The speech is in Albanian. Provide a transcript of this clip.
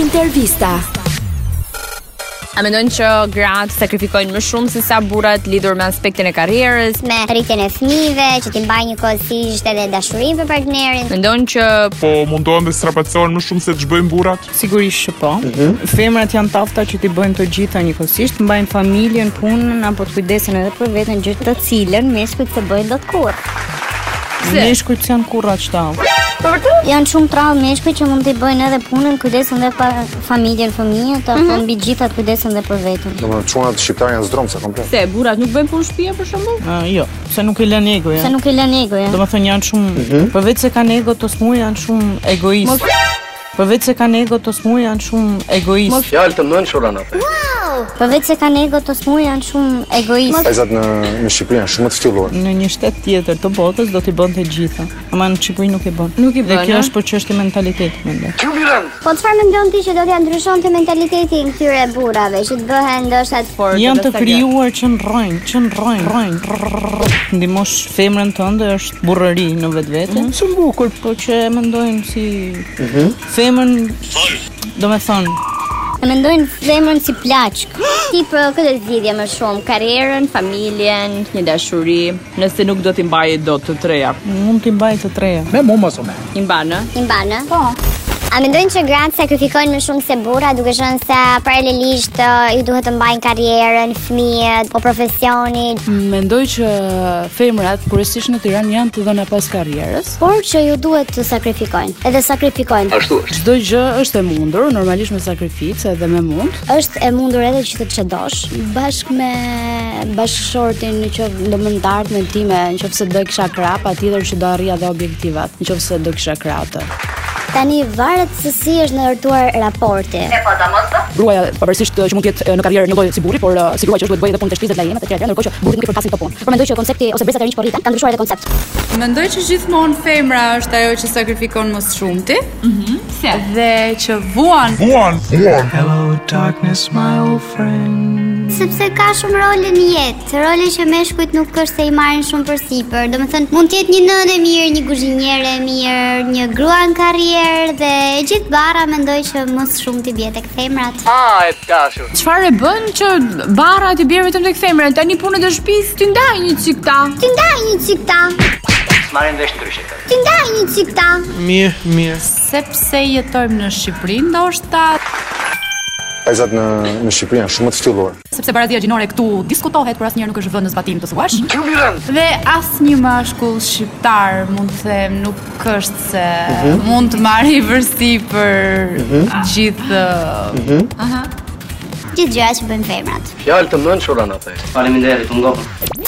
Intervista. A mendojnë që gratë sakrifikojnë më shumë se sa burrat lidhur me aspektin e karrierës? me rritjen e fëmijëve, që ti mbaj një kohësisht edhe dashurinë për partnerin. Mendojnë që po mundohen dhe strapacohen më shumë se të zhbëjnë burrat. Sigurisht që po. Femrat janë tafta që ti bëjnë të gjitha njëkohësisht, mbajnë familjen, punën apo të kujdesen edhe për veten, gjë të cilën meshkujt se bëjnë dot kurrë. Meshkujt janë kurra çta. Janë shumë trallë meshkuj që mund t'i bëjnë edhe punën, kujdesen dhe për familjen, fëmijët, Mhm. apo mbi gjitha kujdesen dhe për veten. Domethënë çunat shqiptarë janë zdromse komplet. se burrat nuk bëjnë punë shtëpie për shembull? jo, se nuk i lën ego Se janë. nuk i lën ego, ja. Do më thënë janë shumë, përveç se kanë ego të smuj, janë shumë egoist. Përveç se kanë ego të smuj, janë shumë egoist. Fjalë të mençura në fe. Përveç se kanë ego të smuj, janë shumë egoistë. Vajzat në në Shqipëri janë shumë të ftyllur. në një shtet tjetër të botës do t'i bën të gjitha. Ama në Shqipëri nuk i bën. Nuk i bën. Dhe kjo është për çështje mentaliteti mendoj. Po çfarë mendon ti që do t'ja ndryshonte mentaliteti i këtyre burrave, që të bëhen ndoshta të fortë? Janë të krijuar që ndrojnë, që ndrojnë, ndrojnë. Ndimosh femrën tënde është burrëri në vetvete. Shumë bukur, Mhm. po që e mendojnë si femrën Do me thonë, E mendojnë zemrën si plaçk. Ti për këtë zgjidhje më shumë karrierën, Familjen, një dashuri, nëse nuk do t'i mbaje dot të treja. mund t'i mbaj të treja. I mban, ë? i mbanë? Po. A mendojnë që gratë sakrifikojnë më shumë se burra, duke qenë se paralelisht ë, ju duhet të mbajnë karrierën, fëmijët, po profesionin, Mendoj që femrat kryesisht në Tiranë janë të dhëna pas karrierës. por që ju duhet të sakrifikojnë. Edhe sakrifikojnë. Ashtu është. Çdo gjë është e mundur, normalisht me sakrificë edhe me mund. Është e mundur edhe që të çedosh bashkë me Bashkëshortin në që do më të ardhmen time, nëse do kisha krah, patjetër që do arrija dhe objektivat, nëse do kisha krah atë. tani varet se si është ndërtuar raporti. Gruaja pavarësisht që mund të jetë në karrierë njëlloj si burri, por si gruaja që është duhet bëjë edhe punë të shtëpisë dhe lajme, të tjera, ndërkohë që burri nuk i përkasin këto punë. Por mendoj që koncepti ose breza tani që po rritan kanë ndryshuar edhe koncept. Mendoj që gjithmonë femra është ajo që sakrifikon më së shumti. Mhm. Dhe që vuan Buan, Sepse ka shumë role në jetë, role që meshkujt nuk është se i marrin shumë përsipër. Domethënë, mund të jetë një nënë e mirë, një kuzhinjere e mirë, një grua në karrierë dhe gjithë barra mendoj që më së shumti bie tek femrat. A e të dashur. Çfarë e bën që barra ti bjerë vetëm tek femrën? Tani punët e shtëpisë ti ndaj një çik ta. Ti ndaj një çik ta, Marrin vesh ndryshe. ti ndaj një çik ta. mirë, mirë. sepse jetojmë në Shqipëri, ndoshta Vajzat në në Shqipëri janë shumë të ftyllur. sepse baratia gjinore këtu diskutohet, por asnjëherë nuk është vënë në zbatim të thuash. Qymirën. Dhe asnjë mashkull shqiptar, mund të them, nuk është se mund të marrë vërsi për gjithë Gjithë gjëra që bëjnë femrat. Fjalë të mençura në fe. Faleminderit, u ngopën.